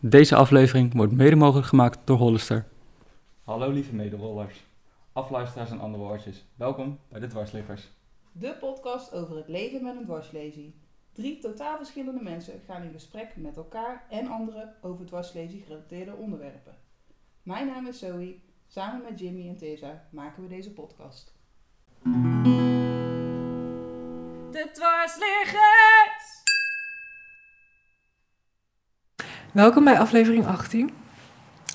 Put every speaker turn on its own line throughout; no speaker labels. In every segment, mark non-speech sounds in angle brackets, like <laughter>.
Deze aflevering wordt mede mogelijk gemaakt door Hollister. Hallo lieve medewollers, afluisteraars en andere woordjes. Welkom bij de Dwarsliggers.
De podcast over het leven met een dwarslesie. Drie totaal verschillende mensen gaan in gesprek met elkaar en anderen over dwarslesie gerelateerde onderwerpen. Mijn naam is Zoe. Samen met Jimmy en Tessa maken we deze podcast.
De dwarsliggers!
Welkom bij aflevering 18.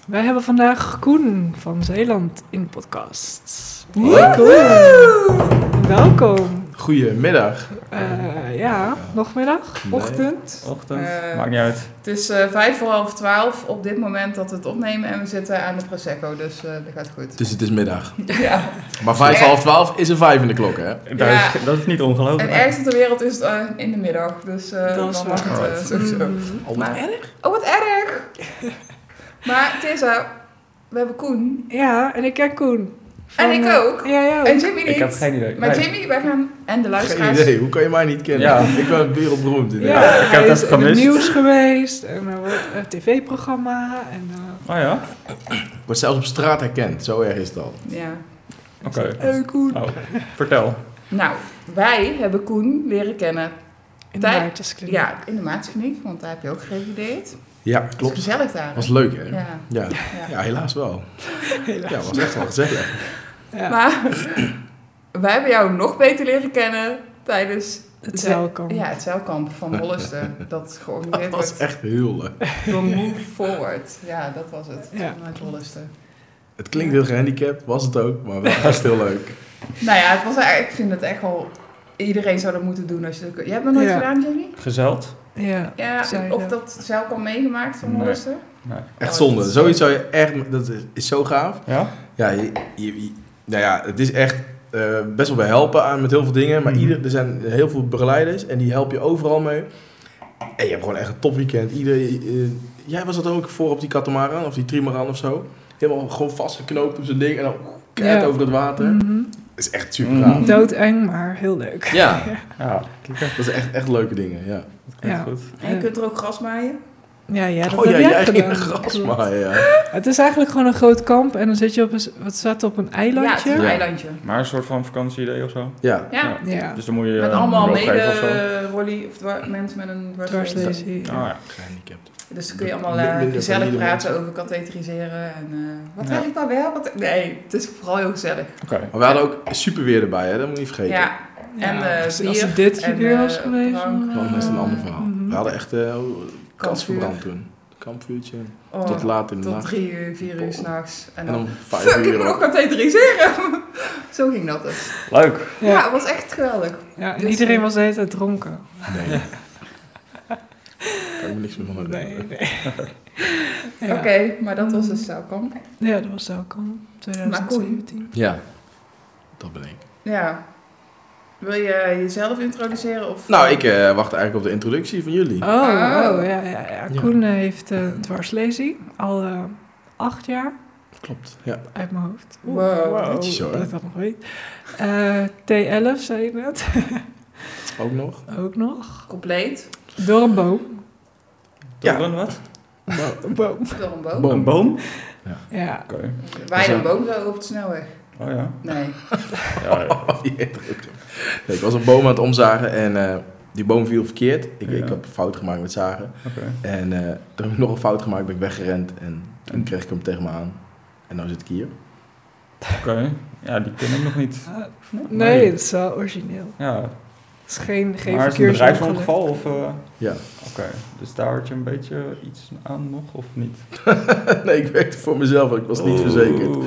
Wij hebben vandaag Koen van Zeeland in de podcast. Hoi Koen! Welkom.
Goedemiddag.
Eh, ja, nog middag?
Nee.
Ochtend?
Ochtend,
Eh.
maakt niet uit.
Het is eh, vijf voor half twaalf op dit moment dat we het opnemen en we zitten aan de Prosecco, dus dat gaat goed.
Dus het is middag.
Ja.
Maar vijf
Ja.
half twaalf is een vijf in de klok, hè?
Dat, is, dat is niet ongelooflijk.
En ergens op de wereld is het eh, in de middag, dus eh
Dat is
dan mag
waar.
het eh, sowieso.
Mm.
Al
Maar- Oh, wat erg! maar Tessa, we hebben Koen.
Ja, en ik ken Koen. Van,
En ik
eh,
ook.
Ja, ja.
En Jimmy niet.
Oh, Ik heb geen idee.
Maar
Nee.
Jimmy, wij gaan... En de
Geen
luisteraars.
idee, hoe kan je mij niet kennen?
Ja.
Ik ben wereldberoemd
ja,
ik
inderdaad.
heb
hij
dat
is in
gemist.
het nieuws geweest en eh, wat- een tv-programma. En, eh,
Oh ja?
Ik word zelfs op straat herkend, zo erg is het al.
Ja.
Oké.
eh, Koen.
Oh, vertel.
Nou, wij hebben Koen leren kennen.
In de
Tij-
Maartenskliniek. <laughs>
Ja, in de maatskliniek, want daar heb je ook gerevideerd.
Ja,
Klopt.
klopt.
Gezellig daar. hè?
Was leuk, hè? Ja.
Ja.
Ja.
ja.
helaas wel.
Helaas.
Ja, was echt wel gezellig.
Ja.
Maar wij hebben jou nog beter leren kennen tijdens...
Het zeilkamp.
Ja, het zeilkamp van Hollister. dat georganiseerd
Dat was
wordt
echt heel leuk.
<laughs> door Move Forward. Ja, dat was het.
Ja.
Vanuit Hollister.
Het klinkt heel gehandicapt, was het ook, maar wel echt heel leuk.
Nou ja, het was eigenlijk, ik vind het echt wel... Iedereen zou dat moeten doen als je dat... kun- Jij hebt dat nooit
Ja.
gedaan, Jamie?
Gezeld?
Ja. Zou
Ja,
je
of
dat-
dat zelf al meegemaakt van
Nee.
Hollister?
Echt zonde. Zoiets zou je echt, dat is, is zo gaaf.
Ja?
Ja, je, je- je- nou ja, het is echt eh, best wel bij helpen aan met heel veel dingen. Maar
Mhm.
ieder, er zijn heel veel begeleiders en die help je overal mee. En je hebt gewoon echt een topweekend. Ieder, eh, jij was dat ook voor op die katamaran of die trimaran of zo. Helemaal gewoon vastgeknoopt op zijn ding en dan keihard
Ja.
over dat water.
Mhm.
Dat is echt super gaaf.
Mhm.
Doodeng, maar heel leuk.
Ja,
Ja, kikker.
dat is echt, echt leuke dingen, ja.
Dat klinkt
Ja.
goed.
En je kunt er ook gras maaien?
Ja, ja dat
oh ja,
heb jij
jij ging
gedaan.
een gras
Klopt.
maaien, ja.
Het is eigenlijk gewoon een groot kamp en dan zit je op een, wat staat er op een eilandje.
Ja, het is een
Ja.
eilandje.
Maar een soort van vakantieidee of zo?
Ja,
Ja,
Ja.
Ja,
Dus dan moet je...
met
eh,
allemaal
een rood geven of zo.
mede rolly of dwar- mensen met een dwarslezen.
dwarslesie.
Ah, ja.
gehandicapt.
Dus dan kun je allemaal eh,
Minder
gezellig
valide
praten over katheteriseren en eh, wat
Ja.
werkt nou wel? Wat, nee, het is vooral heel gezellig.
Oké.
Maar we hadden ook super weer erbij, hè? dat moet je niet vergeten.
Ja, En, eh,
als, als
bier
het dit
en,
weer was
eh,
geweest.
drank.
dan,
Want
eh,
dat is een ander verhaal.
mhm.
We hadden echt eh kans
Kampvuur.
verbrand toen. Kampvuurtje.
oh,
Tot
tot,
laat in de nacht.
drie uur, vier uur s'nachts. En
En
dan,
om vijf
fuck, ik
uur.
moet nog
ook.
katheteriseren. Zo ging dat dus.
Leuk.
Ja.
Ja, het was echt geweldig.
Ja, en
dus,
iedereen
eh,
was de hele tijd dronken.
Nee. kan ik me niks meer van
Nee,
herinneren. <laughs>
nee. ja.
Oké, maar dat was dus Saukamp.
ja, dat was ook al 2017.
Ja. Dat ben ik.
Ja. Wil je jezelf introduceren? Of,
<laughs> Nou, ik eh, wacht eigenlijk op de introductie van jullie.
Oh, oh,
Oh.
ja, ja, ja.
Ja.
Koen eh, heeft eh dwarslesie al eh, acht jaar.
Klopt. Ja.
Uit mijn hoofd.
Oeh, Wow. wow.
Netjes hoor.
Dat ik dat nog weet. Eh, T11 zei je net.
Ook nog.
Ook nog.
Compleet.
Door een boom.
Ja.
Door een wat?
Nou,
Een boom.
Door een boom.
Een
boom.
boom?
Ja.
Oké.
Wij
Zo.
een boom zo over de snelweg.
Oh ja.
Nee.
Ja, ja.
Oh, Die introductie. Nee, ik was een boom aan het omzagen en eh, die boom viel verkeerd. Ik,
Ja.
ik heb een fout gemaakt met zagen.
Oké.
En eh, toen heb ik nog een fout gemaakt, ben ik weggerend. En toen kreeg ik hem tegen me aan. En nu zit ik hier. <laughs>
Oké. Ja, die ken ik nog niet.
Eh,
Nee.
nee, het is wel origineel.
Ja,
Het is geen, geen
maar is het een
verkeersongeluk.
bedrijfsongeval of... eh,
Ja.
Oké, dus daar had je een beetje iets aan nog of niet?
nee, ik werkte voor mezelf, want ik was niet
Oh.
<laughs> verzekerd.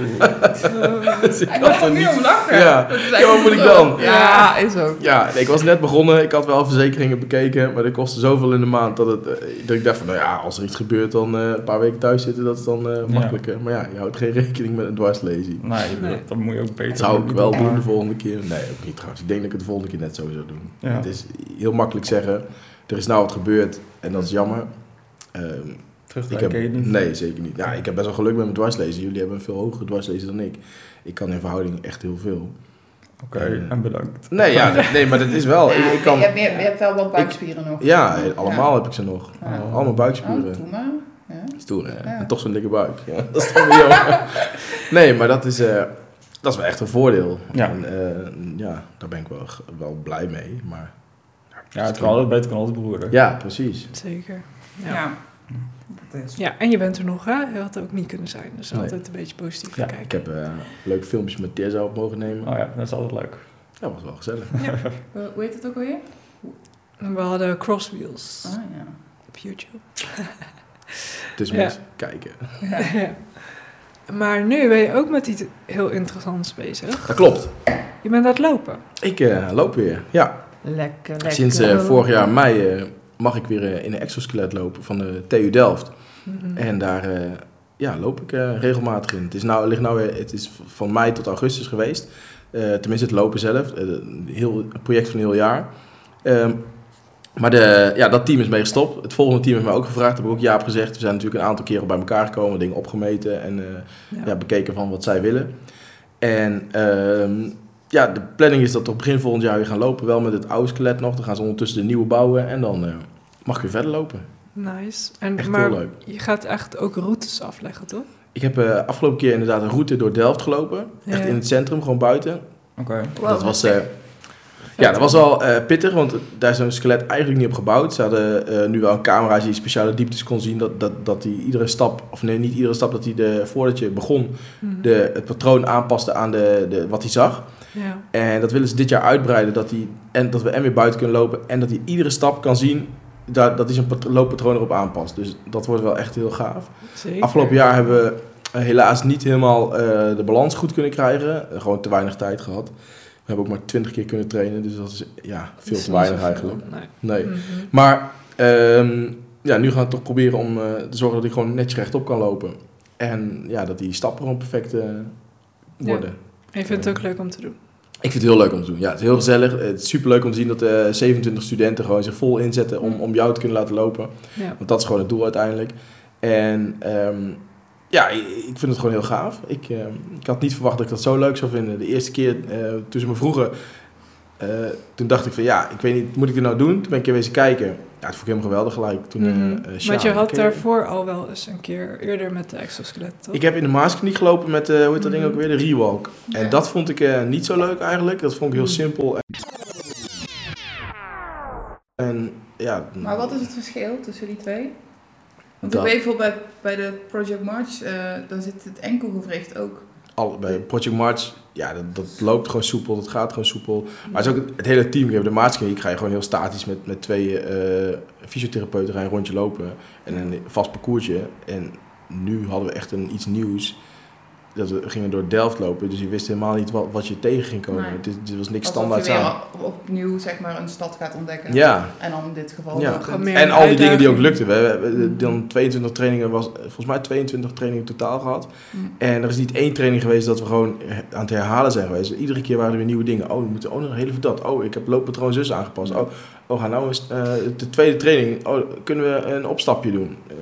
Eh,
Dus <laughs> ik
Ik
had
was
er
er nu
niet...
om lachen.
Ja.
Dat is
Ja,
eigenlijk
wat moet ik
goed.
Oh.
dan?
Ja, is ook.
Ja, nee, ik was net begonnen. Ik had wel verzekeringen bekeken, maar dat kostte zoveel in de maand dat, het, eh, dat ik dacht van, nou ja, als er iets gebeurt, dan eh, een paar weken thuis zitten, dat is dan eh, makkelijker. Maar ja, je houdt geen <laughs> rekening met een dwarslesie.
Nee,
Nee.
Dat, dat moet je ook beter
Dat zou ik
niet
wel
maar-
doen de volgende keer. Nee, ook niet trouwens. Ik denk dat ik het de volgende keer net zo zou doen.
Ja.
Het is heel makkelijk zeggen, er is nou wat gebeurd en dat is jammer. Ehm, ik
Terugkijken
heb,
ken je niet.
nee, zeker niet. Ja, ik heb best wel geluk met mijn dwarslezen. Jullie hebben een veel hogere dwarslezen dan ik. Ik kan in verhouding echt heel veel.
Oké, en bedankt.
Nee, ja, nee, nee, maar dat is wel. Oh, Ik, ik kan,
je, hebt, je hebt wel wat buikspieren nog.
ja, allemaal heb ik ze nog.
Ja.
Allemaal
Oh,
buikspieren.
Oh, doe maar. Ja.
Stoer, hè?
Ja.
En toch zo'n dikke buik. Ja, <laughs> dat is toch wel jammer. Nee, maar dat is, eh, dat is wel echt een voordeel.
Ja.
En, eh, ja, daar ben ik wel, wel blij mee. Maar,
Ja, het kan altijd beter, kan altijd beroerder.
Ja, precies.
Zeker.
Ja.
Ja.
Dat is.
Ja, en je bent er nog, hè? Je had ook niet kunnen zijn. Dus
Nee.
altijd een beetje positief
Ja,
Ik
kijken.
heb eh leuke filmpjes met Tirza op mogen nemen.
Oh ja, dat is altijd leuk.
Dat was wel gezellig.
Eh, Hoe heet het ook alweer?
En We hadden Crosswheels
Ah ja.
op YouTube.
Dus
Ja.
mensen, kijken.
<laughs> Ja. Maar nu ben je ook met iets heel interessants bezig.
Dat klopt.
Je bent aan het lopen.
Ik eh, loop weer. Ja,
Lekker, lekker.
Sinds eh, vorig jaar mei eh, mag ik weer eh, in een exoskelet lopen van de TU Delft.
Mhm.
En daar eh, ja, loop ik eh, regelmatig in. Het is, nou, ligt nou weer, het is v- van mei tot augustus geweest. Eh, tenminste, het lopen zelf. Eh, een heel, een project van een heel jaar. Ehm, maar de, ja, dat team is mee gestopt. Het volgende team heeft mij ook gevraagd. Daar heb ik ook Jaap gezegd. We zijn natuurlijk een aantal keren bij elkaar gekomen. Dingen opgemeten en eh,
Ja.
ja. bekeken van wat zij willen. En ehm, ja, de planning is dat we begin volgend jaar weer gaan lopen. Wel met het oude skelet nog. Dan gaan ze ondertussen de nieuwe bouwen. En dan eh, mag ik weer verder lopen.
Nice. En,
Echt
maar
heel leuk.
je gaat echt ook routes afleggen, toch?
Ik heb eh afgelopen keer inderdaad een route door Delft gelopen. Echt
Ja.
in het centrum, gewoon buiten.
Oké.
dat was, eh, ja, dat was wel eh, pittig, want daar is zo'n skelet eigenlijk niet op gebouwd. Ze hadden eh, nu wel een camera die speciale dieptes kon zien. Dat, dat, dat die iedere stap, of nee, niet iedere stap, dat hij de, voordat je begon,
Mhm.
de, het patroon aanpaste aan de, de, wat hij zag.
Ja.
En dat willen ze dit jaar uitbreiden. Dat, die, en, dat we en weer buiten kunnen lopen. En dat hij iedere stap kan zien. Dat, dat hij zijn pat- looppatroon erop aanpast. Dus dat wordt wel echt heel gaaf.
Zeker.
Afgelopen jaar hebben we eh, helaas niet helemaal eh, de balans goed kunnen krijgen. Eh, gewoon te weinig tijd gehad. We hebben ook maar 20 keer kunnen trainen. Dus dat is ja,
Dat
veel
is
te
niet
weinig
zoveel.
eigenlijk.
Nee.
Nee.
Mhm.
Maar ehm, ja, nu gaan we toch proberen om eh, te zorgen dat hij gewoon netjes rechtop kan lopen. En ja, dat die stappen gewoon perfect eh, worden.
En je vindt
Eh,
het ook leuk om te doen.
Ik vind het heel leuk om te doen. Ja, het is heel gezellig. Het is superleuk om te zien dat eh 27 studenten gewoon zich vol inzetten
Mm.
om, om jou te kunnen laten lopen.
Ja.
Want dat is gewoon het doel uiteindelijk. En ehm, ja, ik, ik vind het gewoon heel gaaf. Ik, ehm, ik had niet verwacht dat ik dat zo leuk zou vinden. De eerste keer eh, toen ze me vroegen, eh, toen dacht ik van ja, ik weet niet, moet ik dit nou doen? Toen ben ik een keer wezen kijken. Ja, dat vond ik helemaal geweldig gelijk. Toen, eh,
Mhm.
eh,
Want je
Sjaan,
had
ken je-
daarvoor al wel eens een keer eerder met de exoskelet, toch?
ik heb in de Maasknie gelopen met, eh, hoe heet dat ding ook
Mhm.
weer, de Rewalk. En dat vond ik eh, niet zo leuk eigenlijk. Dat vond ik heel
Mhm.
simpel. En- En ja...
Maar wat is het verschil tussen die twee? Want
Dat-
ik weet bijvoorbeeld bij, bij de Project March, eh, dan zit het enkelgewricht ook.
Alle, bij Project March, ja, dat, dat loopt gewoon soepel, dat gaat gewoon soepel. Maar het is ook het, het hele team. Ik heb de maatschappij, ga je gewoon heel statisch met, met twee eh, fysiotherapeuten ga je een rondje lopen. En een vast parcoursje. En nu hadden we echt een, iets nieuws. Dat we gingen door Delft lopen, dus je wist helemaal niet wat, wat je tegen ging komen.
Nee.
Het, is- het was
Alsof
niks
je
standaard
weer
aan.
op- opnieuw zeg maar, een stad gaat ontdekken.
Ja,
En dan in dit geval
Ja.
ook
Gewoon
een-
meer
En
een
al die dingen die ook
uitdaging.
lukten. We hebben
Mhm.
eh, dan 22 trainingen, was, eh, volgens mij 22 trainingen totaal gehad.
Mm.
En er is niet één training geweest dat we gewoon eh, aan het herhalen zijn geweest. Iedere keer waren er weer nieuwe dingen. Oh, we moeten oh, nog heel even dat. Oh, ik heb looppatroon zus aangepast. Oh, oh gaan nou eens eh, de tweede training. Oh, kunnen we een opstapje doen? Eh,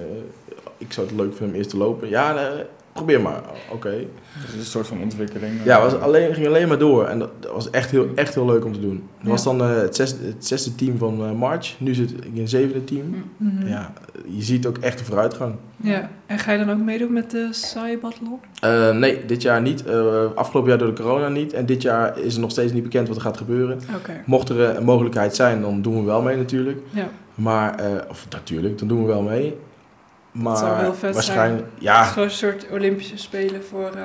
ik zou het leuk vinden om eerst te lopen. Ja, eh, probeer maar. Oké.
Dus een soort van ontwikkeling.
Ja, was alleen, ging alleen maar door. En dat, dat was echt heel, echt heel leuk om te doen. Dat
Ja.
was dan eh, het, zesde, het zesde team van eh, March. Nu zit ik in het zevende team.
Mm.
Mhm.
Ja, je ziet ook echt de vooruitgang.
Ja. En ga je dan ook meedoen met de Cybathlon?
Eh, nee, dit jaar niet. Eh, afgelopen jaar door de corona niet. En dit jaar is er nog steeds niet bekend wat er gaat gebeuren.
Oké.
Mocht er eh, een mogelijkheid zijn, dan doen we wel mee natuurlijk.
Ja.
Maar, eh, of natuurlijk, dan doen we wel mee. Maar
zou heel vet
waarschijnlijk,
Het
ja,
is gewoon een soort Olympische Spelen voor... eh,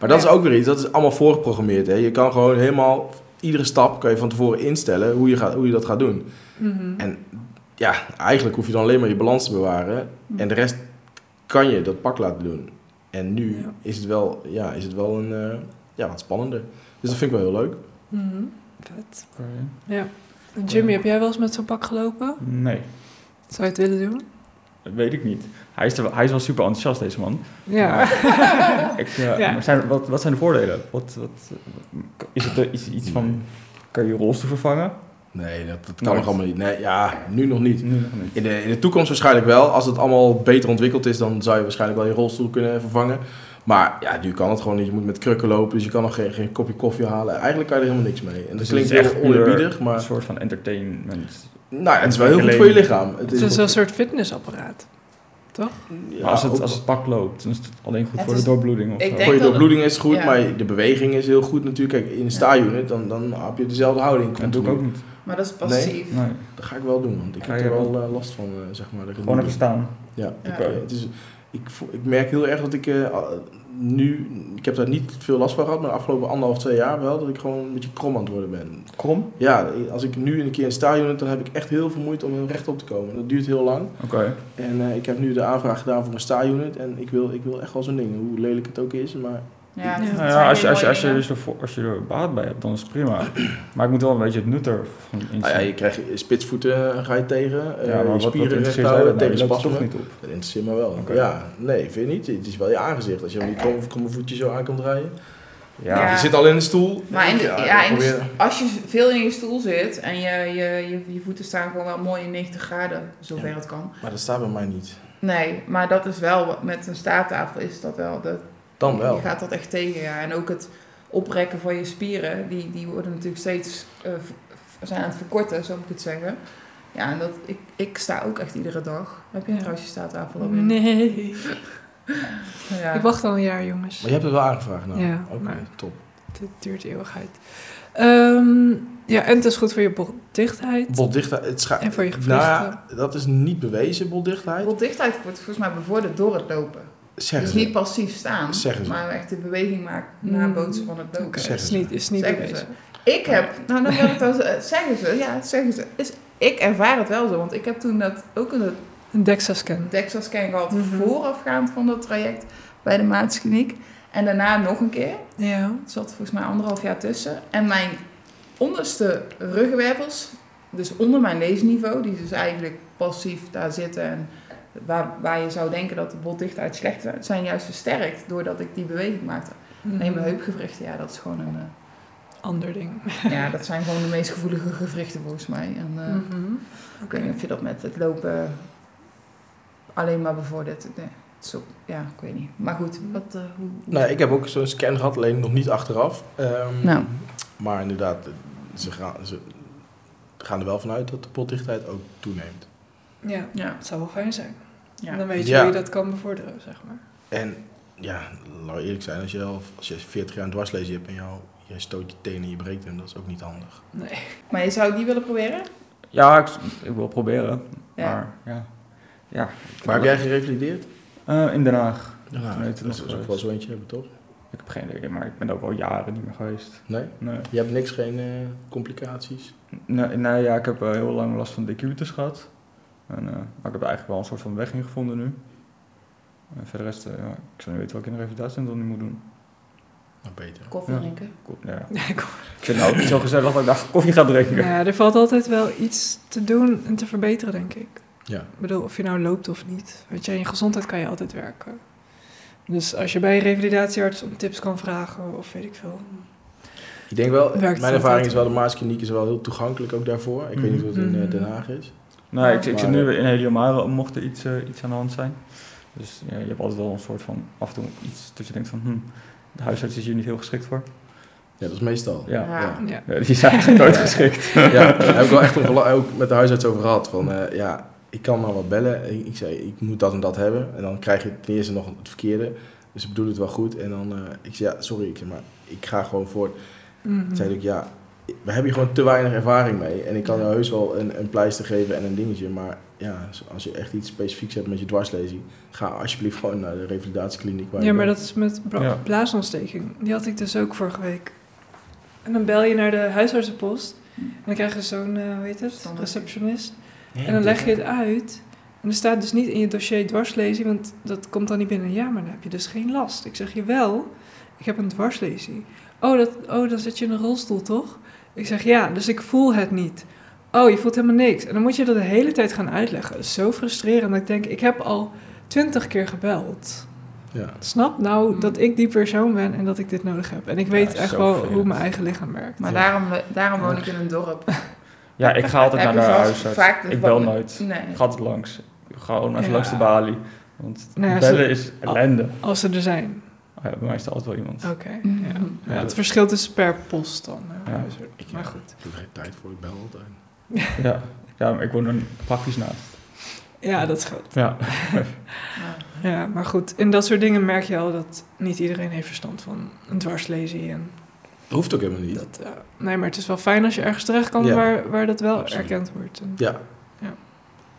Maar dat
Ja.
is ook weer iets, dat is allemaal voorgeprogrammeerd. Hè. Je kan gewoon helemaal, iedere stap kan je van tevoren instellen hoe je, gaat, hoe je dat gaat doen.
mhm.
En ja, eigenlijk hoef je dan alleen maar je balans te bewaren.
Hm.
En de rest kan je dat pak laten doen. En nu
Ja.
is het wel, ja, is het wel een, eh, ja, wat spannender. Dus dat vind ik wel heel leuk.
Mhm. Vet. Jimmy,
Ja.
heb jij wel eens met zo'n pak gelopen?
Nee,
Zou je het willen doen?
dat weet ik niet. Hij is, er, wel- hij is wel super enthousiast, deze man.
<laughs> Ja.
Ik, eh,
Ja.
maar zijn, wat, wat zijn de voordelen? Wat, wat, eh, is het eh, iets, iets van, kan je je rolstoel vervangen?
Nee, dat, dat kan
Nooit.
nog allemaal niet. Nee, ja, nu nog niet.
Nu nog niet.
In de, in de toekomst waarschijnlijk wel. Als het allemaal beter ontwikkeld is, dan zou je waarschijnlijk wel je rolstoel kunnen vervangen. Maar ja, nu kan het gewoon niet. Je moet met krukken lopen, dus je kan nog geen, geen kopje koffie halen. Eigenlijk kan je er helemaal niks mee. En dat
Dus
klinkt
het is
echt
echt puur-
oneerbiedig,
Een
maar
soort van entertainment.
nou, ja, het is wel heel goed voor je lichaam. Het
Het is
is
een soort fitnessapparaat. Toch?
Ja,
maar als het,
ook-
als het pak loopt, dan is het alleen goed
Het
voor
is-
de doorbloeding. Of zo.
ik denk-
voor je
dat-
doorbloeding is het goed,
ja.
maar de beweging is heel goed natuurlijk. Kijk, in een sta-unit, dan, dan heb je dezelfde houding.
dat doe ik ook niet.
Maar dat is passief.
Nee.
Dat ga ik wel doen, want ik
Ga
heb
je
er wel
wel-
eh, last van, eh, zeg maar. dat ik het
Gewoon
moet
even
doen.
staan.
Ja,
Ja.
ik, eh, het is, ik, vo- ik merk heel erg dat ik eh, al- nu... Ik heb daar niet veel last van gehad, maar de afgelopen anderhalf, twee jaar wel... dat ik gewoon een beetje krom aan het worden ben.
Krom?
Ja, als ik nu een keer een sta-unit, dan heb ik echt heel veel moeite om heel rechtop te komen. Dat duurt heel lang.
Oké.
En eh, ik heb nu de aanvraag gedaan voor mijn sta-unit. En ik wil, ik wil echt wel zo'n ding, hoe lelijk het ook is. Maar
Ja,
Nou
het,
Nou ja, als, je, als, je, als, je, er zo voor- als je er baat bij hebt, dan is het prima. Maar ik moet wel een beetje het nut ervan inzien.
nou ja, je krijgt spitsvoeten eh, ga je tegen. eh,
Ja,
je
maar wat, wat
spieren recht
interesseert jou
houden
dat nou?
tegen
Je loopt er
spasmen.
toch niet op?
Dat interesseert me wel.
Oké.
Ja, nee, vind je niet? Het is wel je aangezicht. Als je hem niet krom- kromme voetje zo aan kan draaien.
Ja.
Ja.
Je zit al in de stoel.
Maar in de-
dan
ja, in de-
probeer-
als je veel in je stoel zit en je, je, je, je voeten staan gewoon wel mooi in 90 graden, zover
Ja.
het kan.
Maar dat staat bij mij niet.
Nee, maar dat is wel, wat- met een staattafel is dat wel. Dat,
Dan wel.
Je gaat dat echt tegen, ja. En ook het oprekken van je spieren, die, die worden natuurlijk steeds, eh, v- zijn aan het verkorten, zo moet ik het zeggen. Ja, en dat, ik, ik sta ook echt iedere dag. Heb je een rasje staattafel op?
Nee.
Ja.
Ik wacht al een jaar, jongens.
Maar je hebt het wel aangevraagd nou.
Ja,
Oké,
maar-
top.
Het duurt eeuwigheid. Ehm, ja, en het is goed voor je botdichtheid.
Botdichtheid. Het scha-
En voor je gewrichten.
Nou ja, dat is niet bewezen, botdichtheid.
Rotdichtheid wordt volgens mij bevorderd door het lopen.
Zeggen
dus
ze.
niet passief staan,
Zeggen ze.
maar echt de beweging maken
Hmm.
nabootsen van het lopen.
Oké,
Zeggen
is
ze.
niet, is niet
zeggen
bewezen.
ze. Ik heb, nou dan wil ik dat eh, zeggen ze, ja, zeggen ze. Is, ik ervaar het wel zo, want ik heb toen dat ook een
Een DEXA-scan.
DEXA-scan gehad
Mhm.
voorafgaand van dat traject bij de Maatskliniek. En daarna nog een keer.
Ja.
Er zat volgens mij anderhalf jaar tussen. En mijn onderste ruggenwervels, dus onder mijn leesniveau, die dus eigenlijk passief daar zitten en waar, waar je zou denken dat de botdichtheid slecht zijn, zijn juist versterkt doordat ik die beweging maakte.
Mhm.
Nee, mijn heupgewrichten, ja, dat is gewoon een. eh,
Ander ding.
ja, dat zijn gewoon de meest gevoelige gewrichten volgens mij. En, eh,
Mhm.
ik weet niet of je dat met het lopen alleen maar bevordert. Nee, zo, ja, ik weet niet. Maar goed, wat, eh, hoe...
Nou, ik heb ook zo'n scan gehad, alleen nog niet achteraf. Ehm,
Nou.
Maar inderdaad, ze gaan, ze gaan er wel vanuit dat de potdichtheid ook toeneemt.
Ja,
Ja,
het zou wel fijn zijn.
ja.
Dan weet je
Ja.
hoe je dat kan bevorderen, zeg maar.
En ja, laten we eerlijk zijn, als je, al, als je 40 jaar een dwarslezen hebt en jou, je stoot je tenen en je breekt hem, dat is ook niet handig.
Nee. <laughs>
Maar je zou het niet willen proberen?
Ja, ik, ik wil proberen.
Ja.
Maar ja. ja ik-
Maar heb jij gerevalideerd?
Eh, in Den Haag.
Ja,
Nee, het
dat
is
is
nog
ook wel
geweest.
zo eentje hebben, toch?
Ik heb geen idee, maar ik ben er ook al jaren niet meer geweest.
Nee?
Nee.
Je hebt niks, geen eh, complicaties?
Nee, nee, ja, ik heb eh, heel lang last van decubitus gehad. En, eh, maar ik heb eigenlijk wel een soort van weg ingevonden nu. En voor de rest, eh, ja, ik zou niet weten wat ik in de revalidatiecentrum nu moet doen.
Nou, beter.
Koffie
Ja.
drinken?
Kom, nou ja.
Ja, kom.
Ik vind het nou ook niet zo gezellig dat ik daar koffie ga drinken.
Nou ja, er valt altijd wel iets te doen en te verbeteren, denk ik.
Ja.
Ik bedoel, of je nou loopt of niet. Weet je, aan je gezondheid kan je altijd werken. Dus als je bij een revalidatiearts om tips kan vragen, of weet ik veel.
Ik denk wel,
Werkt het
mijn ervaring
altijd.
is wel, de Maaskliniek is wel heel toegankelijk ook daarvoor. Ik weet niet hoe het in eh,
Mhm.
Den Haag is.
Nee, ik, ik zit
Maar,
nu
eh,
weer in Heliomare, mocht er iets, eh, iets aan de hand zijn. Dus ja, je hebt altijd wel een soort van, af en toe iets dat je denkt van, hm, de huisarts is hier niet heel geschikt voor.
Ja, dat is meestal.
Ja,
Ja.
Ja.
Ja, die zijn eigenlijk nooit geschikt.
<laughs>
<laughs>
Ja, daar heb ik wel echt een gela- ook met de huisarts over gehad. Van eh, ja, ik kan maar wat bellen. Ik, ik zei, ik moet dat en dat hebben. En dan krijg je ten eerste nog het verkeerde. Dus ik bedoel het wel goed. En dan, eh, ik zei, ja, sorry, ik zei, maar ik ga gewoon voort.
Mhm.
Toen zei ik, ja, we hebben hier gewoon te weinig ervaring mee. En ik kan jou heus wel een, een pleister geven en een dingetje. Maar ja, als je echt iets specifieks hebt met je dwarslezing, ga alsjeblieft gewoon naar de revalidatiekliniek. waar je
Ja, maar
bent.
dat is met bra-
Ja.
blaasontsteking. Die had ik dus ook vorige week. En dan bel je naar de huisartsenpost. En dan krijg je zo'n, eh, hoe heet het,
Standaard.
receptionist. En dan leg je het uit. En er staat dus niet in je dossier dwarslezing, want dat komt dan niet binnen. Ja, maar dan heb je dus geen last. Ik zeg je wel, ik heb een dwarslezing. Oh, dat, oh, dan zit je in een rolstoel, toch? Ik zeg ja, dus ik voel het niet. Oh, je voelt helemaal niks. En dan moet je dat de hele tijd gaan uitleggen. Dat is zo frustrerend. Dat ik denk, ik heb al twintig keer gebeld.
Ja.
Snap nou
Mm.
dat ik die persoon ben en dat ik dit nodig heb. En ik
Ja,
weet
dat is
echt
zo
wel
vervelend.
hoe mijn eigen lichaam werkt.
Maar
Ja.
daarom, we- daarom woon ik in een dorp.
Ja, ik ga altijd
Heb
naar
je
de
vast
huisarts.
vaak de
Ik bel
vo-
nooit.
Nee.
Ik ga altijd langs. Ik ga gewoon even
Ja.
langs de balie. Want
Nou ja,
bellen is ellende.
Als ze er zijn.
Oh ja, bij mij is er altijd wel iemand.
Oké. Ja.
Mhm.
Ja, het verschil is per post dan. hè. Dus
Ja.
Ik
Maar
heb
goed.
ik heb er geen tijd voor, ik bel altijd.
Ja, ja maar ik woon er praktisch naast.
Ja, dat scheelt.
Ja.
Nou,
Ja, maar goed. In dat soort dingen merk je al dat niet iedereen heeft verstand van een dwarslesie. En
Dat hoeft ook helemaal niet.
dat, eh, nee, maar het is wel fijn als je ergens terecht kan
Ja,
waar, waar dat wel
absoluut.
erkend wordt. En-
Ja.
Ja.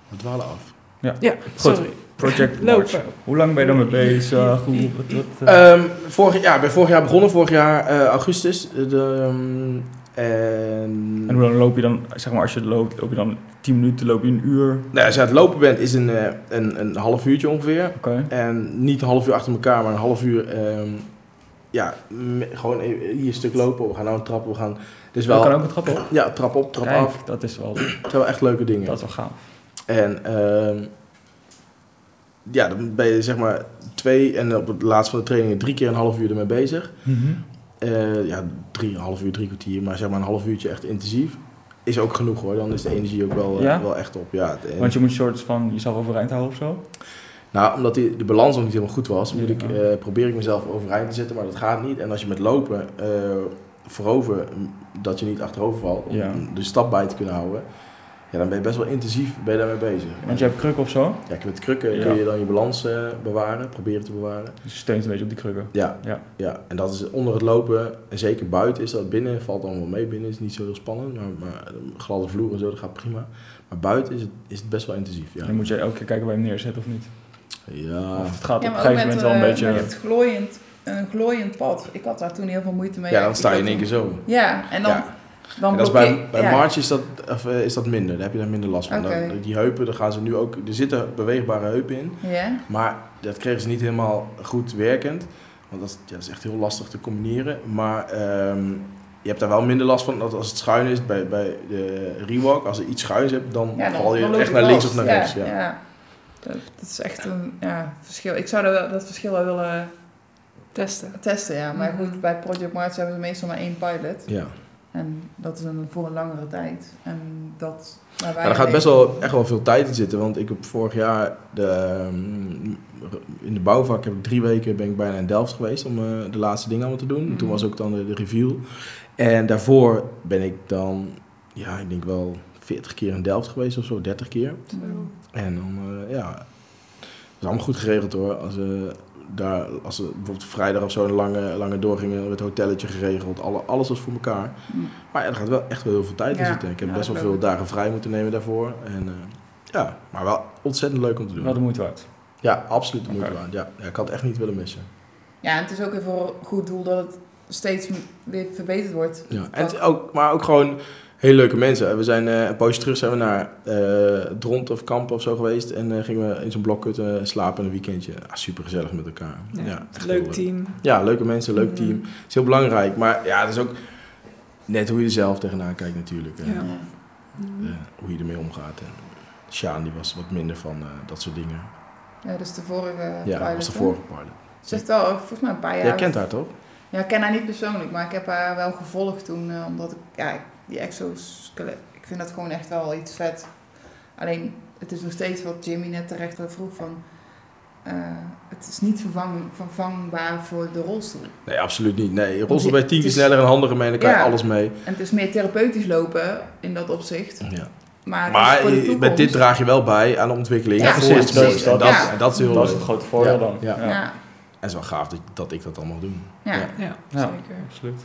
We dwalen af.
ja, sorry.
Project March.
Lopen.
Hoe lang ben je daarmee bezig? Hoe, wat, wat, eh,
Ehm, vorig jaar, ik ben vorig jaar begonnen, vorig jaar eh, augustus. Eh, de, ehm, en
en hoe lang loop je dan, zeg maar als je loopt, loop je dan 10 minuten, loop je een uur? Oké.
nou, als je aan het lopen bent, is een, eh, een, een half uurtje ongeveer. En niet een half uur achter elkaar, maar een half uur. ehm, ja, me- gewoon e- hier een stuk lopen. We gaan nou een trap, we gaan. Dus
Je kan
wel.
ook een trap op.
Ja, trap op, trap af.
Kijk, dat is wel, dat
Het zijn wel echt leuke dingen.
is wel gaaf.
En ehm, ja, dan ben je zeg maar twee en op het laatst van de trainingen drie keer een half uur ermee bezig. Eh, ja, drie, een half uur, drie kwartier, maar zeg maar een half uurtje echt intensief. Is ook genoeg hoor, dan is de energie ook wel, eh,
Ja?
wel echt op. Ja, het- en-
Want je moet een soort van jezelf overeind houden of zo.
Nou, omdat die, de balans nog niet helemaal goed was, moet ik,
Ja.
eh, probeer ik mezelf overeind te zetten, maar dat gaat niet. En als je met lopen eh, voorover, m, dat je niet achterover valt, om
Ja.
de stap bij te kunnen houden, ja, dan ben je best wel intensief ben je daarmee bezig.
Want je hebt krukken of zo.
Ja, met krukken
Ja.
kun je dan je balans eh, bewaren, proberen te bewaren.
Dus je steunt een beetje op die krukken.
Ja,
Ja.
ja, en dat is onder het lopen, en zeker buiten is dat binnen, valt allemaal mee. Binnen is niet zo heel spannend, maar, maar eh, gladde vloer en zo, dat gaat prima. Maar buiten is het, is het best wel intensief, ja. Ah.
Dan moet je elke keer kijken waar je hem neerzet of niet.
Ja,
Of het gaat
Ja,
op
maar
een gegeven
ook met,
moment wel een
eh,
beetje...
met het glooiend, een glooiend pad. Ik had daar toen heel veel moeite mee.
ja dan sta je
Ik
in één
had
keer zo.
toen- Ja, en dan...
Ja.
dan
En dat is
blokkeer-
bij bij
ja.
March is dat, of, eh, is dat minder, daar heb je daar minder last van.
Oké.
Dan- die heupen, daar gaan ze nu ook, er zitten beweegbare heupen in,
Ja,
maar dat kregen ze niet helemaal goed werkend. Want dat is, ja, dat is echt heel lastig te combineren. Maar ehm, je hebt daar wel minder last van dat als het schuin is bij, bij de rewalk. Als je iets schuins hebt, dan,
ja dan,
val je
dan loop
echt naar links
vast.
of naar
Ja,
rechts. Ja.
Ja, Dat, dat is echt een ja, verschil. Ik zou dat, wel- dat verschil wel willen
Testen.
testen, ja. Maar
Mhm.
goed, bij Project March hebben ze meestal maar één pilot.
Ja.
En dat is een, voor een langere tijd. En dat... Waar wij
Maar er gaat
mee-
best wel echt wel veel tijd in zitten. Want ik heb vorig jaar de, ehm, in de bouwvak heb ik drie weken ben ik bijna in Delft geweest om eh, de laatste dingen allemaal te doen. Toen
Mhm.
was ook dan de, de reveal. En daarvoor ben ik dan, ja, ik denk wel 40 keer in Delft geweest of zo, 30 keer.
Zo.
En dan, eh, ja, het is allemaal goed geregeld hoor. Als, we daar, als we bijvoorbeeld vrijdag of zo een lange, lange doorgingen, het hotelletje geregeld, alle, alles was voor elkaar.
Mm.
Maar ja, er gaat wel echt wel heel veel tijd in
Ja,
zitten. Ik heb
ja,
best wel
dat
veel
geloof
dagen vrij moeten nemen daarvoor. En, eh, ja, maar wel ontzettend leuk om te doen.
Wel de moeite waard.
Ja, absoluut de moeite
Oké.
waard. Ja, ja, ik had het echt niet willen missen.
Ja, en het is ook weer voor een goed doel dat het steeds m- weer verbeterd wordt.
Ja, en het is ook, maar ook gewoon hele leuke mensen. We zijn eh, een poosje terug zijn we naar eh Dront of Kamp of zo geweest. En eh, gingen we in zo'n blokkut eh, slapen een weekendje. Ah, super gezellig met elkaar. Ja,
Ja,
echt heel
Leuk team.
Ja, leuke mensen, leuk team.
Mhm.
is heel belangrijk. Maar ja, dat is ook net hoe je er zelf tegenaan kijkt natuurlijk. En,
Ja. Mm.
eh, hoe je ermee omgaat. En Sjaan die was wat minder van eh, dat soort dingen.
Ja, dus de vorige
Ja,
pilot,
dat was de
hè?
vorige pilot.
Ze heeft wel, eh, volgens mij een paar jaar...
Jij kent haar toch?
Ja, ik ken haar niet persoonlijk, maar ik heb haar wel gevolgd toen. eh, omdat ik, ja, ik- die exoskelet, ik vind dat gewoon echt wel iets vet. Alleen, het is nog steeds wat Jimmy net terecht al vroeg van... eh, het is niet vervang, vervangbaar voor de rolstoel.
Nee, absoluut niet. Nee,
Want
rolstel
je-
bij tien keer
het is-
sneller en handiger mee. Dan kan je
Ja.
alles mee.
En het is meer therapeutisch lopen in dat opzicht.
Ja.
Maar, het is
Maar
voor de
eh, met dit
toekomst.
draag je wel bij aan de ontwikkeling.
Ja,
en voor
precies,
het sport.
precies.
En dat,
Ja.
en dat is heel
dat is
leuk.
het grote voordeel
Ja,
dan.
ja.
Ja,
En zo gaaf dat, dat ik dat allemaal mag doen.
ja.
Ja.
Ja,
Ja.
zeker.
Absoluut.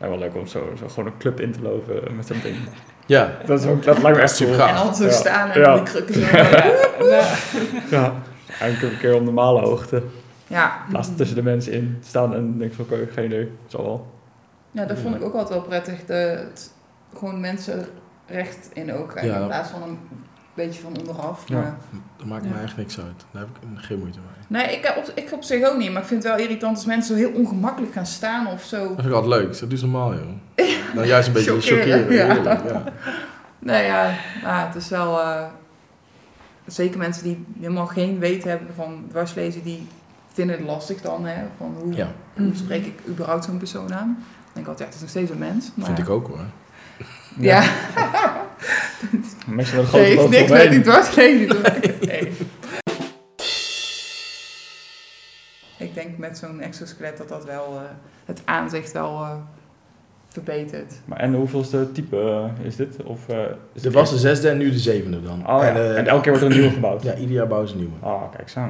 Ja, wel leuk om zo, zo gewoon een club in te lopen eh, met zo'n ding. <laughs>
Ja,
Dat, is ook, dat lijkt me echt super
Super
En
gaaf.
dan zo
Ja.
staan en
Ja.
die krukken zo.
Ja. Eigenlijk een keer op normale hoogte.
Ja.
Naast tussen de mensen in staan en denk van, oké, geen idee. Zal wel.
ja, dat vond ik ook altijd wel prettig. De, het- gewoon mensen recht in ook. eh,
Ja.
In plaats van een beetje van onderaf.
Ja.
Maar...
dat maakt
Ja.
me echt niks uit. Daar heb ik geen moeite mee.
Nee, ik heb, op, ik op zich ook niet. Maar ik vind het wel irritant als mensen zo heel ongemakkelijk gaan staan of zo.
Dat vind ik altijd leuk. Dat is normaal, joh. Nou, juist een beetje
Chockeren,
chockeren.
ja.
heerlijk, ja.
Nou ja, maar het is wel... eh, zeker mensen die helemaal geen weet hebben van dwarslezen, die vinden het lastig dan. Hè, van hoe
Ja,
hoe spreek ik überhaupt zo'n persoon aan? Ik denk altijd, ja, het is nog steeds een mens. Maar...
vind ik ook hoor.
Ja,
Mensen met een
dat <laughs>
grote
heeft
boog
niks met
omheen.
die dwarslezen te maken. Nee. Ik denk met zo'n exoskelet dat dat wel eh, het aanzicht wel eh, verbeterd.
Maar en hoeveelste type eh, is dit? Of, eh, is
Er was de zesde en nu de zevende dan.
Oh, ja. en,
eh,
elke keer wordt er een nieuwe gebouwd?
Ja, ieder jaar bouwen ze een nieuwe.
Ah, kijk zo.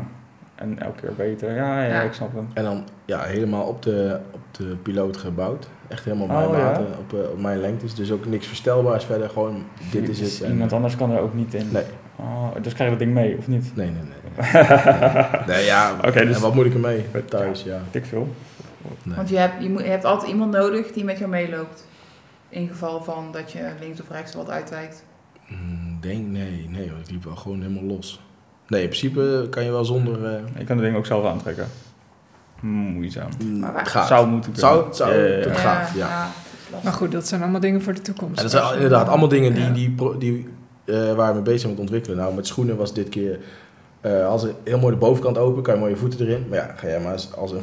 En elke keer beter. Ja, ja,
Ja.
ik snap hem.
En dan ja, helemaal op de, op de piloot gebouwd. Echt helemaal op
Oh,
mijn
ja.
maten, op, eh, op mijn lengtes. Dus ook niks verstelbaars verder. Gewoon, dit is het. En-
Iemand anders kan er ook niet in.
Nee.
Oh, dus krijg je dat ding mee, of
<laughs>
niet? <laughs>
Nee, nee, nee. nee ja,
Oké, dus-
en wat moet ik ermee? Thuis, ja.
Weet ik veel.
Nee.
Want je hebt, je, moet, je hebt altijd iemand nodig die met jou meeloopt. In geval van dat je links of rechts wat uitwijkt.
Mm, Denk, nee, nee, want ik liep wel gewoon helemaal los. Nee, in principe kan je wel zonder... eh,
Ik kan het ding ook zelf aantrekken. Moeizaam.
Maar waar-
gaat.
Zou moeten kunnen.
Ah, Zou- zou-
Ja, ja, ja.
Dat
Ja,
gaat, ja.
dat is
Maar goed, dat zijn allemaal dingen voor de toekomst.
Ja, dat zijn al- inderdaad allemaal dingen die,
Ja.
die, pro- die eh, waar we mee bezig zijn met ontwikkelen. Nou, met schoenen was dit keer... eh als er heel mooi de bovenkant open, kan je mooi je voeten erin. Maar ja, ga jij maar als, als een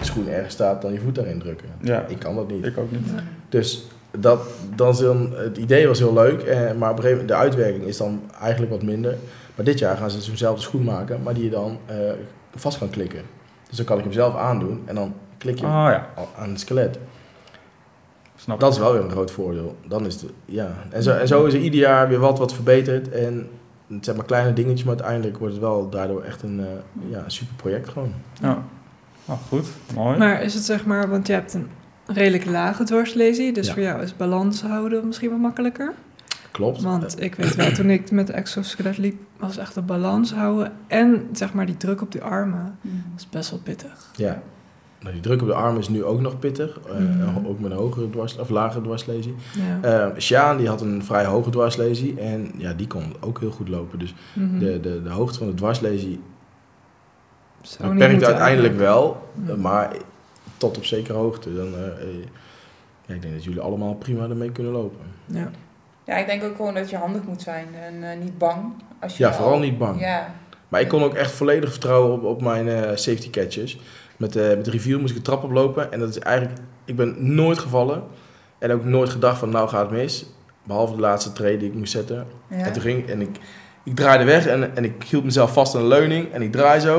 schoen ergens staat, dan je voet daarin drukken.
Ja,
Ik kan dat niet.
ik ook niet.
lastig.
Dus dat, dan is dan, het idee was heel leuk, eh, maar op een gegeven moment de uitwerking is dan eigenlijk wat minder. Maar dit jaar gaan ze zo'nzelfde schoen maken, maar die je dan eh, vast kan klikken. Dus dan kan ik hem zelf aandoen en dan klik je hem
Ah ja,
al- aan het skelet.
snap
Dat
ik.
is wel weer een groot voordeel. Dan is het, ja. en, zo, en zo is er ieder jaar weer wat wat verbeterd. En het zijn maar kleine dingetjes, maar uiteindelijk wordt het wel daardoor echt een eh, ja, super project gewoon.
Ja. Nou, goed, mooi.
Maar is het zeg maar, want je hebt een redelijk lage dwarslesie, dus
Ja.
voor jou is balans houden misschien wel makkelijker.
Klopt.
Want ik weet wel, toen ik met de exoskelet liep, was echt de balans houden en zeg maar die druk op die armen. Dat is best wel pittig.
Ja. Nou, die druk op de arm is nu ook nog pittig. eh,
Mhm.
Ook met een hogere dwars, of lagere dwarslesie.
Ja.
Eh, Sjaan die had een vrij hoge dwarslesie en ja, die kon ook heel goed lopen. Dus
Mhm.
de, de, de hoogte van de dwarslesie
Zou niet
beperkt
moeten
uiteindelijk wel, eh,
Ja.
maar tot op zekere hoogte. Dan, eh, eh, ja, ik denk dat jullie allemaal prima ermee kunnen lopen.
Ja.
Ja, ik denk ook gewoon dat je handig moet zijn en eh, niet bang. Als je
Ja,
al-
vooral niet bang.
Ja,
Maar ik kon ook echt volledig vertrouwen op, op mijn eh, safety catches. Met, eh, met de review moest ik een trap oplopen en dat is eigenlijk, ik ben nooit gevallen en ook nooit gedacht van nou gaat het mis. Behalve de laatste trade die ik moest zetten.
ja.
En toen ging en ik, ik draaide weg en, en ik hield mezelf vast aan een leuning en ik draai zo.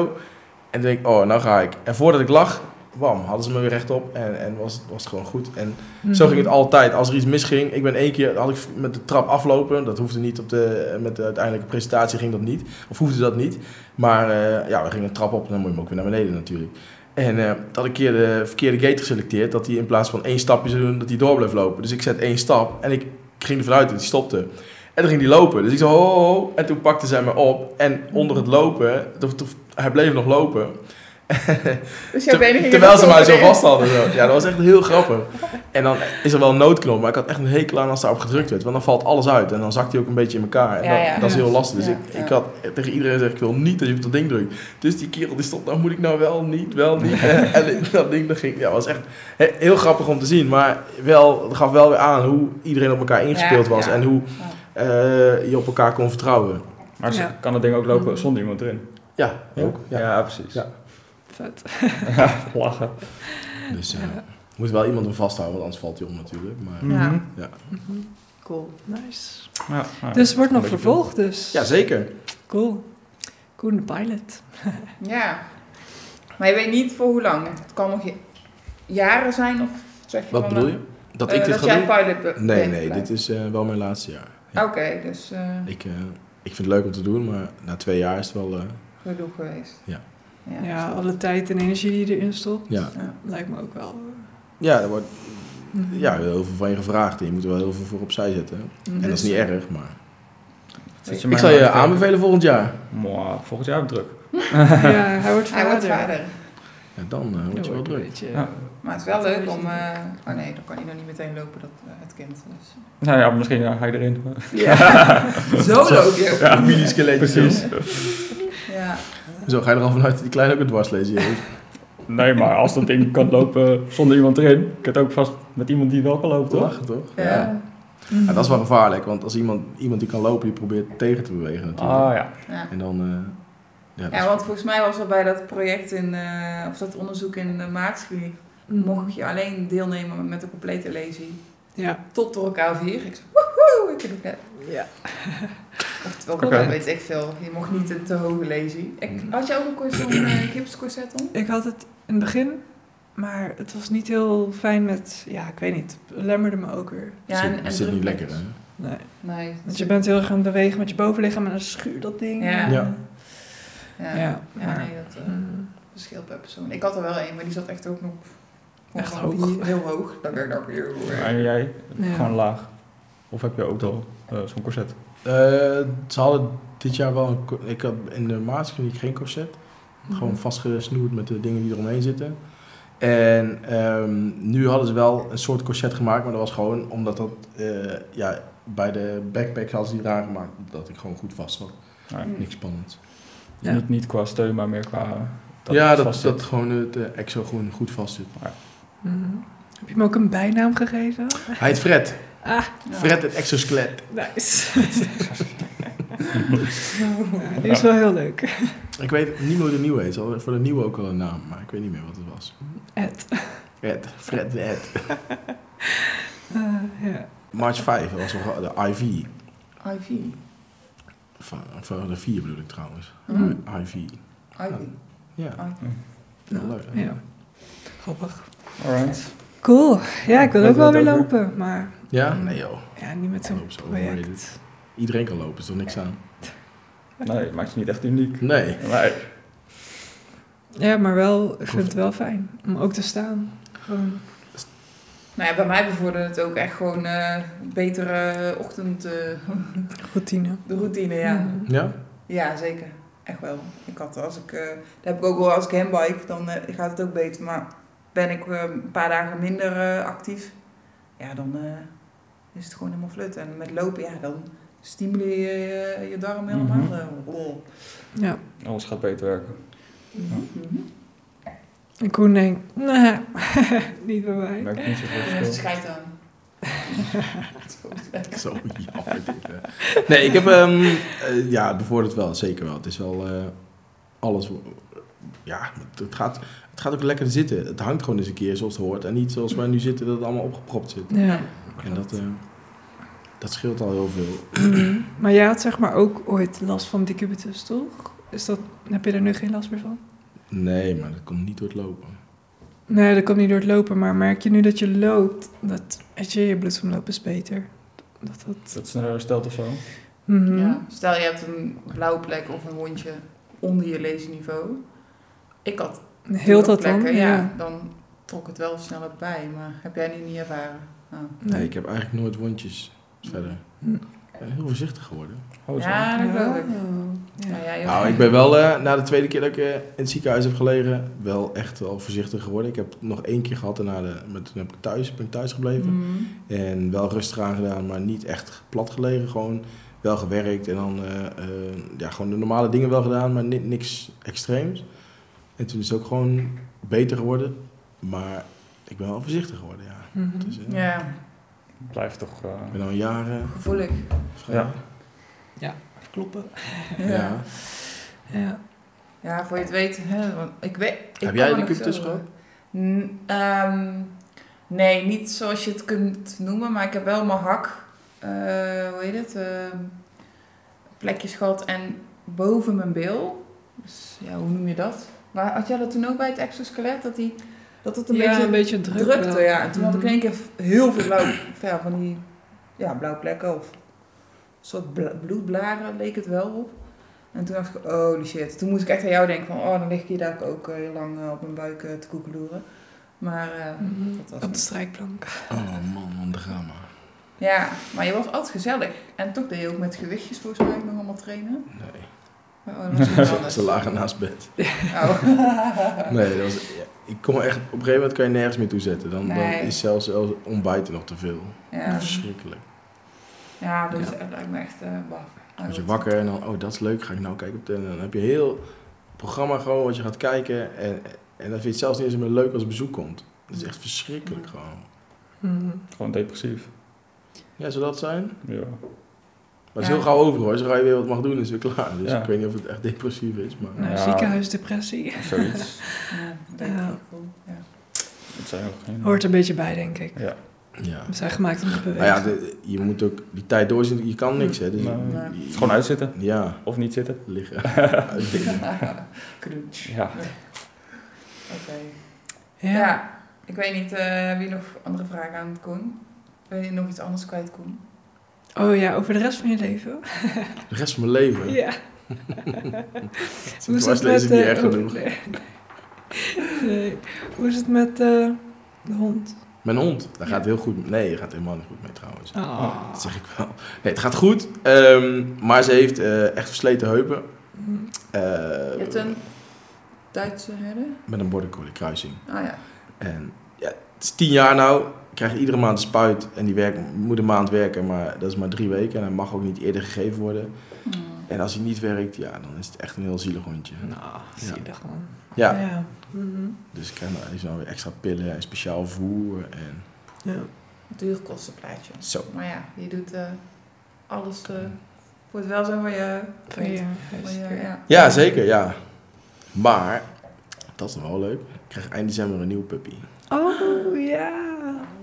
En toen denk ik, oh, nou ga ik. En voordat ik lag, bam, hadden ze me weer rechtop en, en was, het- was het gewoon goed. En zo
Mhm.
ging het altijd. Als er iets misging, ik ben één keer, had ik met de trap aflopen. Dat hoefde niet op de, met de uiteindelijke presentatie ging dat niet. Of hoefde dat niet. Maar eh, ja, we gingen de trap op en dan moet je hem ook weer naar beneden natuurlijk. En eh had ik een keer de verkeerde gate geselecteerd. Dat hij in plaats van één stapje zou doen, dat hij door bleef lopen. Dus ik zet één stap en ik ging ervan uit dat hij stopte. En toen ging hij lopen. Dus ik zei, ho, ho, ho. En toen pakte zij me op. En onder het lopen, toen- toen- hij bleef nog lopen. <laughs>
Dus jouw benen
Ter-
gingen
terwijl ze
ook
mij zo
overheen.
vast hadden. Zo. Ja, dat was echt heel grappig. En dan is er wel een noodknop, maar ik had echt een hekel aan als daarop gedrukt werd. Want dan valt alles uit en dan zakt hij ook een beetje in elkaar. En
Ja,
dat,
ja.
dat is heel
Ja.
lastig. Dus
Ja,
ik,
ja.
ik had tegen iedereen gezegd, ik wil niet dat je op dat ding drukt. Dus die kerel die stond, nou moet ik nou wel, niet, wel, niet. <laughs> en dat ding dat ging, ja, was echt he- heel grappig om te zien. Maar wel, het gaf wel weer aan hoe iedereen op elkaar ingespeeld
Ja,
was.
ja.
En hoe eh, je op elkaar kon vertrouwen.
Maar ze-
Ja. Mm.
kan het ding ook lopen zonder iemand erin?
Ja, ook. Ja.
precies.
Ja.
Mhm. Vet.
<laughs> Lachen.
Dus eh, moet wel iemand hem vasthouden, want anders valt hij om natuurlijk. Maar...
Ja.
Mhm.
Mhm.
Cool.
Nice.
Ja, nou,
Dus het wordt nog
een beetje
vervolgd, dus.
Ja, zeker.
Cool. Cool in de pilot.
Ja. Maar je weet niet voor hoe lang. Het kan nog je- jaren zijn of zeg je
Wat
van,
bedoel
eh,
je? Dat
eh,
ik dit
dat
ga
jij
doen?
pilot be-
Nee,
bent
nee,
blijft.
dit is eh, wel mijn laatste jaar.
Oké, dus eh
Ik, eh, ik vind het leuk om te doen, maar na twee jaar is het wel... eh,
genoeg geweest.
Ja.
Ja.
Ja, alle tijd en energie die je erin stopt.
ja.
Lijkt me ook wel.
Ja, er wordt
Mhm.
ja, heel veel van je gevraagd en je moet er wel heel veel voor opzij zetten.
Mhm.
En dat
Dus,
is niet erg, maar...
Zit
Ik zal
maar
je
aan te kijken?
aanbevelen volgend jaar.
Mwah, volgend jaar heb ik druk.
<laughs>
Ja, hij wordt
eh, Hij
vader.
wordt vader.
Ja, dan eh, word je wel
wordt een
druk.
beetje-
Ja.
Maar het is wel leuk om... eh, oh nee, dan kan hij nog niet meteen lopen, dat, eh, het kind. Dus.
Nou ja, misschien ja, ga je erin.
<laughs>
<laughs>
Zo loop je.
Ja, mini-skeletje.
Precies.
Ja.
Zo ga je er al vanuit dat die kleine ook een dwarslezen heeft.
Nee, maar als dat ding kan lopen zonder iemand erin, kan het ook vast met iemand die wel kan lopen,
Te
toch?
lachen, toch?
Ja.
Mhm.
Ja, dat is wel gevaarlijk, want als iemand, iemand die kan lopen, die probeert tegen te bewegen natuurlijk.
Ah ja.
Oh, ja.
En dan... eh, ja, dat is-
Ja, want volgens mij was er bij dat project in, eh, of dat onderzoek in de Maartskliniek,
Mhm.
mocht je alleen deelnemen met een complete lesie.
Ja.
Tot door elkaar vier. Ik zei, woehoe, ik heb het net. <laughs>
Ja.
Oftewel,
Oké.
dat weet ik veel. Je mocht niet
Mm. <clears throat>
een te hoge lesie. Ik, had je ook een corset, een eh, gipscorset om?
Ik had het in het begin Maar het was niet heel fijn met, ja, ik weet niet, het lemmerde me ook weer.
Ja, en, en
dat zit niet
drukbek.
lekker, hè?
Nee.
Nee.
Want je bent heel erg aan het bewegen met je bovenlichaam en dan schuurt dat ding.
Ja.
Ja.
Ja, ja,
Ja, maar-
nee, dat eh,
Mm.
verschilt per persoon. Ik had er wel één, maar die zat echt ook nog
Echt
gewoon
hoog.
Heel hoog. Dan ben ik nou, eh. ook weer.
En jij?
Ja.
Gewoon laag. Of heb je ook al eh, zo'n corset?
Eh, ze hadden dit jaar wel een... ko- Ik had in de Maaskliniek geen corset. Gewoon
Mhm.
vastgesnoerd met de dingen die eromheen zitten. En ehm, nu hadden ze wel een soort corset gemaakt, maar dat was gewoon omdat dat eh, ja, bij de backpack hadden ze die eraan gemaakt, dat ik gewoon goed vast zat.
Nou, ja.
Niks spannends.
Dus Niet, niet qua steun, maar meer qua... eh, dat
ja,
het
dat,
vast zit.
dat gewoon het eh, exo gewoon goed vast zit.
Mhm. Heb je hem ook een bijnaam gegeven?
Hij heet Fred.
Ah,
Fred het exoskelet. <laughs>
nice. Ja,
nou.
die is wel heel leuk.
Ik weet niet meer hoe de nieuwe heet. Ze hadden voor de nieuwe ook al een naam, maar ik weet niet meer wat het was.
Ed.
Ed. Fred de Ed.
<laughs> Eh, ja.
March 5, dat was nog de IV.
IV.
Van, van de 4 bedoel ik trouwens.
Mm.
IV.
IV.
Ja, heel
Nou,
leuk. hè?
ja. Grappig.
Alright.
Cool. Ja, ik wil
Weet
ook
je
wel
dat
weer
ook
lopen, maar
Ja? Nee joh.
ja, niet met zo'n
Lopen is
project.
overrated. Iedereen kan lopen, is er niks aan.
Nee, maakt je niet echt uniek.
Nee.
Nee.
Ja, maar wel, ik vind het wel fijn om ook te staan. Gewoon.
Nou ja, bij mij bevorderde het ook echt gewoon eh, betere ochtend, eh,
Routine.
de routine, ja.
Mhm.
Ja?
Ja, zeker. Echt wel. Ik had als ik, eh dat heb ik ook wel als ik handbike, dan eh, gaat het ook beter. Maar ben ik eh, een paar dagen minder eh, actief, ja, dan eh, is het gewoon helemaal flut. En met lopen, ja, dan stimuleer je je, je darm helemaal.
Mhm.
eh, oh.
Ja.
Alles gaat beter werken.
Mhm.
En Koen denkt, nee, <laughs> niet bij mij.
Merk niet zoveel
Ja,
verschil.
schijt aan. <laughs> Dat is goed.
<laughs> Zo jammer dit. hè. Nee, ik heb... ehm eh, ja, het bevordert wel, zeker wel. Het is wel eh, alles... Ja, het, het gaat, het gaat ook lekker zitten. Het hangt gewoon eens een keer zoals het hoort. En niet zoals wij nu zitten, dat het allemaal opgepropt zit.
Ja.
En dat, eh, dat scheelt al heel veel.
Mhm. <clears throat> Maar jij had zeg maar ook ooit last van decubitus, toch? Is dat, heb je daar nu geen last meer van?
Nee, maar dat komt niet door het lopen.
Nee, dat komt niet door het lopen, maar merk je nu dat je loopt, dat weet je, je bloedsomloop is beter. Dat dat...
Dat sneller herstelt of zo.
Mhm.
Ja. Stel je hebt een blauwe plek of een wondje onder je leesniveau. Ik had
Heel dat dan?
plekken,
Ja.
ja. Dan trok het wel sneller bij, maar heb jij nu niet ervaren? Nou.
Nee, ik heb eigenlijk nooit wondjes verder.
Hm.
Ik ben heel voorzichtig geworden.
Oh, zo.
Ja, dat geloof ik.
Oh,
Ja,
ja.
ja, je-
Nou, ik ben wel eh, na de tweede keer dat ik eh, in het ziekenhuis heb gelegen, wel echt wel voorzichtig geworden. Ik heb nog één keer gehad en na de, maar toen heb ik thuis, ben ik thuis gebleven.
Mhm.
Mm-hmm.
En wel rustig aangedaan, maar niet echt plat gelegen. Gewoon wel gewerkt en dan eh, eh, ja, gewoon de normale dingen wel gedaan, maar ni- niks extreems. En toen is het ook gewoon beter geworden, maar ik ben wel voorzichtig geworden, ja.
Mhm.
Dus, eh,
Ja,
Blijft toch... eh,
Ik ben al jaren
gevoelig.
vrij.
Ja.
Kloppen.
Ja.
Ja.
Ja.
Ja.
voor je het weet. Hè, want ik weet ik
Heb
kan
jij
er
de
nog
cubitus
zo-
gehad?
N- ehm, nee, niet zoals je het kunt noemen, maar ik heb wel mijn hak, eh, hoe heet het, ehm, plekjes gehad en boven mijn bil. Dus ja, hoe noem je dat? Maar had jij dat toen ook bij het exoskelet, dat, die, dat het een
Ja,
beetje
een beetje druk
drukte?
wel.
Ja, en toen had ik in
Mhm.
één keer heel veel blauw, ja, van die ja, blauwe plekken of een soort bla- bloedblaren leek het wel op. En toen dacht ik, oh die shit. Toen moest ik echt aan jou denken van, oh dan lig ik hier daar ook eh, heel lang eh, op mijn buik eh, te koekeloeren. Maar eh,
Mhm.
dat was
Op de
het.
strijkplank.
Oh man, wat een drama.
Ja, maar je was altijd gezellig. En toch deed je ook met gewichtjes volgens mij nog allemaal trainen.
Nee,
Maar, Oh, dat
<laughs>
was iets
ze
anders.
lagen naast bed.
Oh.
<laughs> Nee, dat was, ja, ik kon echt, op een gegeven moment kan je nergens meer toezetten. Dan,
Nee.
dan is zelfs zelfs ontbijten nog te veel.
ja.
Verschrikkelijk.
ja, dus dat lijkt me echt eh baf.
Dan word je wakker en dan, oh dat is leuk, ga ik nou kijken op tv. En dan heb je heel programma gewoon wat je gaat kijken. En, en dan vind je het zelfs niet eens meer leuk als bezoek komt. Dat is echt verschrikkelijk gewoon.
Mhm.
Gewoon depressief.
Ja, zou dat zijn?
Ja.
Maar het is
Ja.
heel gauw over hoor. Zodra je weer wat mag doen, is het weer klaar. Dus
Ja.
ik weet niet of het echt depressief is, maar...
Nou,
Ja.
ziekenhuisdepressie.
Zoiets.
Ja, dat deed ik
Ja.
ook wel, ja.
Het zijn ook geen...
Hoort er een beetje bij, denk ik.
Ja.
Ja.
We zijn gemaakt om te bewegen.
Maar ja, de- je moet ook die tijd doorzien. Je kan niks hè. Dus
Nee.
je-
Nee.
je-
Het is gewoon uitzitten.
Ja,
Of niet zitten.
<laughs>
<laughs>
liggen. Uitdingen.
Knutsch.
Ja.
Oké.
Ja.
Ik weet niet, eh heb je nog andere vragen aan Koen? Ben je nog iets anders kwijt, Koen?
Oh ja, over de rest van je leven.
De rest van mijn leven.
Ja. Hoe is het
dwarslezen
met...
niet
eh,
erg
oh,
genoeg.
nee. Nee. Hoe is het met eh, de hond?
Mijn hond, daar gaat heel goed. Nee, daar gaat helemaal niet goed mee trouwens.
Oh.
Dat zeg ik wel. Nee, het gaat goed. ehm, maar ze heeft eh, echt versleten heupen. Eh,
Je hebt een Duitse herder?
Met een border collie kruising.
Ah ja.
En ja, het is tien jaar nou. Ik krijg iedere maand een spuit. En die werkt, moet een maand werken, maar dat is maar drie weken. En hij mag ook niet eerder gegeven worden.
Hmm.
En als hij niet werkt, ja, dan is het echt een heel zielig hondje.
Nou, zielig man.
Ja,
Ja. Mhm.
dus ik krijg nou, hij is nou weer extra pillen en speciaal voer. En
ja.
Duur kostenplaatje.
zo.
Maar ja, je doet eh, alles eh, voor het welzijn van je...
Van je
Van
huis.
je ja.
Ja, zeker, ja. Maar, dat is nog wel leuk. Ik krijg eind december een nieuwe puppy.
Oh ja.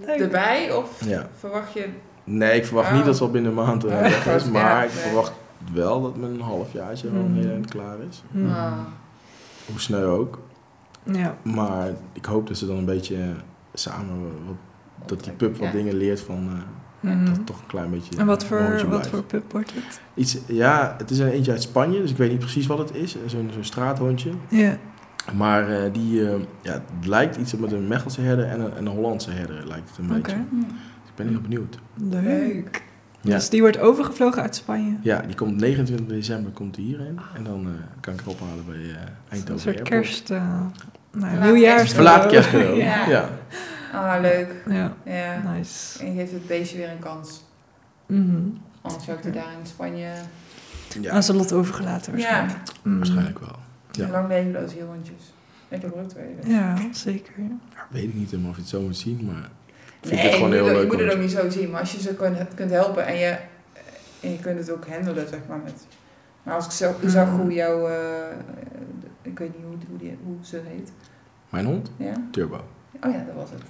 Leuk.
Erbij of
Ja.
verwacht je...
Nee, ik verwacht
Oh.
niet dat ze al binnen een maand eh,
<laughs> Oh,
weg is.
ja,
Maar ik
nee.
verwacht wel dat met een halfjaartje al
Mhm.
heel eind klaar is.
Hm.
Ah.
Hoe snel ook.
Ja.
Maar ik hoop dat ze dan een beetje samen, wat, dat die pup wat
Ja.
dingen leert van... eh,
Mhm.
Dat het toch een klein beetje...
En wat
een hondje
voor, wat
blijft.
voor pup wordt het?
Iets, ja, het is een eentje uit Spanje, dus ik weet niet precies wat het is. Zo'n zo'n straathondje.
Ja.
Maar eh, die eh, ja, het lijkt iets met een Mechelse herder en een, en een Hollandse herder lijkt het een
Oké.
beetje.
Hmm.
Dus ik ben heel benieuwd.
Leuk.
Ja.
Dus die wordt overgevlogen uit Spanje.
Ja, die komt 29 december komt die hierheen. En dan eh, kan ik haar ophalen bij eh Eindhoven
Een soort
Airport.
kerst... eh nou,
Verlaat
nieuwjaars.
kerst-
Verlaat kerstcadeau.
Ja.
ja.
Ah, leuk.
Ja.
Ja.
Nice.
En je geeft het beestje weer een kans.
Mhm.
Anders zou ik die daar in Spanje...
Ja,
Aan zijn lot overgelaten waarschijnlijk.
Ja,
Mhm.
waarschijnlijk wel. Ja.
lang levenloze hondjes. Ik heb er ook twee. dus.
Ja, zeker.
Ja, weet ik niet helemaal of je het zo moet zien, maar ik vind
Nee,
het
je
gewoon
moet,
heel
het-
leuk.
je moet het
hoor.
ook niet zo zien, maar als je ze kunt, kunt helpen en je, en je kunt het ook handelen, zeg maar. Met, maar als ik zo,
Hmm.
zag hoe jouw, eh, ik weet niet hoe, hoe, die, hoe ze heet.
Mijn hond?
Ja?
Turbo.
Oh ja, dat was het.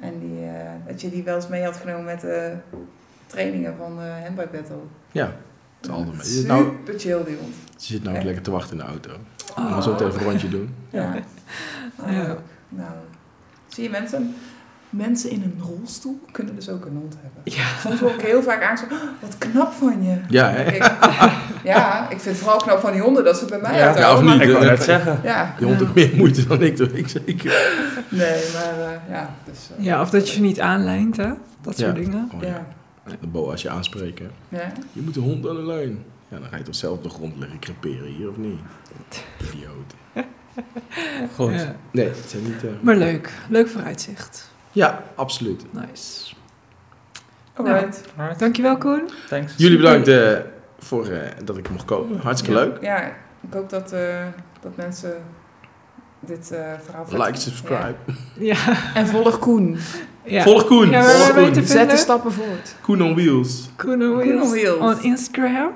En die, eh, dat je die wel eens mee had genomen met de trainingen van de handbike battle.
Ja, het is altijd mee. Ze zit
Super
nou,
chill die hond.
ze zit nou ook
Ja.
lekker te wachten in de auto.
Oh.
We gaan zo meteen even een rondje doen.
Ja. Nou,
Ja.
leuk. Nou, zie je mensen? Mensen in een rolstoel kunnen dus ook een hond hebben. Soms word ik heel vaak aangesproken, "Oh, wat knap van je.
Ja,
Dan
hè?
denk <laughs> ik, ja, ik vind het vooral knap van die honden dat ze het bij mij
Ja,
nou,
uithouden.
of niet.
Ik
Ik
wou
wou
net zeggen.
maar- Ja,
Die hond heeft meer moeite dan ik, dat weet ik zeker.
nee, maar eh, ja. Dus, eh,
Ja, of dat je ze niet aanlijnt, hè? Dat soort
Ja.
dingen.
Oh, ja.
Ja.
De boa als je aanspreken.
Ja.
Je moet de hond aan de lijn. Ja, dan ga je toch zelf op de grond liggen creperen hier, of
<laughs>
niet? Idioot.
Goed.
Ja.
Nee, het zijn niet... eh,
Maar leuk. Leuk vooruitzicht.
Ja, absoluut.
Nice.
Alright.
Alright,
Dankjewel, Koen.
Thanks.
Jullie bedankt eh, voor, eh, dat ik mocht komen. Hartstikke
Ja.
leuk.
Ja, ik hoop dat, eh, dat mensen dit eh, verhaal vet
Like,
vinden.
subscribe.
Ja.
Ja. En volg Koen.
ja.
Volg Koen.
Ja,
Volg
waar ben je te
Koen.
Zet de
vinden?
stappen voort.
Koen on Wheels.
Koen on
Koen on
Wheels.
Wheels.
On Instagram,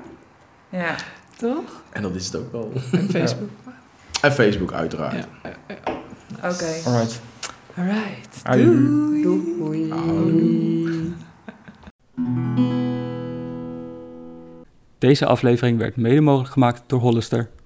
Ja.
toch?
En dat is het ook wel.
En Facebook.
En Facebook uiteraard.
Oké.
Alright.
All right.
Adieu.
Doei.
Doei.
Deze aflevering werd mede mogelijk gemaakt door Hollister.